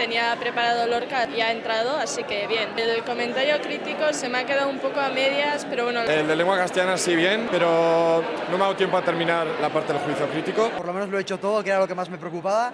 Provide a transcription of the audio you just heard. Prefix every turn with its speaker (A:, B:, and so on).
A: tenía preparado Lorca y ha entrado, así que bien. El comentario crítico se me ha quedado un poco a medias, pero bueno.
B: El de Eh, lengua castellana sí bien, pero no me ha dado tiempo a terminar la parte del juicio crítico.
C: Por lo menos lo he hecho todo, que era lo que más me preocupaba.